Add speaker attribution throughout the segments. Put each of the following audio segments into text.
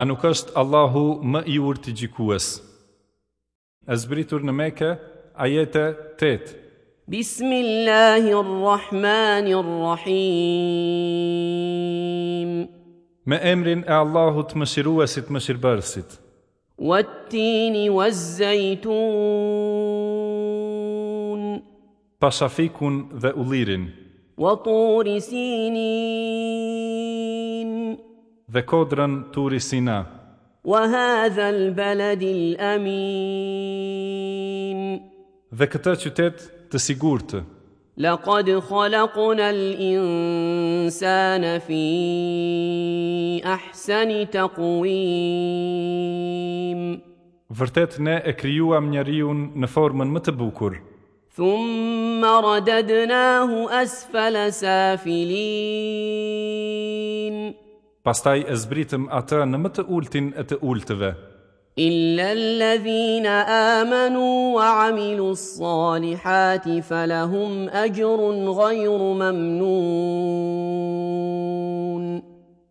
Speaker 1: A nuk është Allahu më i urtë gjikues? E zbritur në Mekë, ajete 8.
Speaker 2: بسم الله الرحمن الرحيم
Speaker 1: Me emrin e Allahut më shiruesit më shirëbërësit,
Speaker 2: والتين والزيتون
Speaker 1: pa shafikun dhe ullirin,
Speaker 2: وطور سينين
Speaker 1: dhe kodrën turi sina,
Speaker 2: وهذا البلد الامين
Speaker 1: dhe këtë qytet të sigurtë.
Speaker 2: لقد خلقنا الانسان في احسن تقويم
Speaker 1: Vërtet ne e krijuam njeriun në formën më të bukur,
Speaker 2: ثم رددناه اسفل سافلين
Speaker 1: pastaj e zbritëm atë në më të ultin e të ultëve,
Speaker 2: إلا الذين آمنوا وعملوا الصالحات فلهم أجر غير ممنون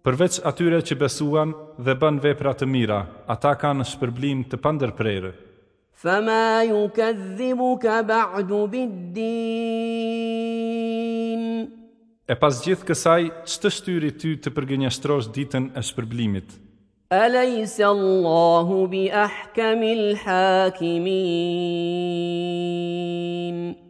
Speaker 1: përveç atyre që besuan dhe bën vepra të mira, ata kanë shpërblim të pandërprerë.
Speaker 2: فما يكذبك بعد بالدين
Speaker 1: E pas gjithë kësaj, që të shtyri ty të përgënjështrosh ditën e shpërblimit?
Speaker 2: أليس الله بأحكم الحاكمين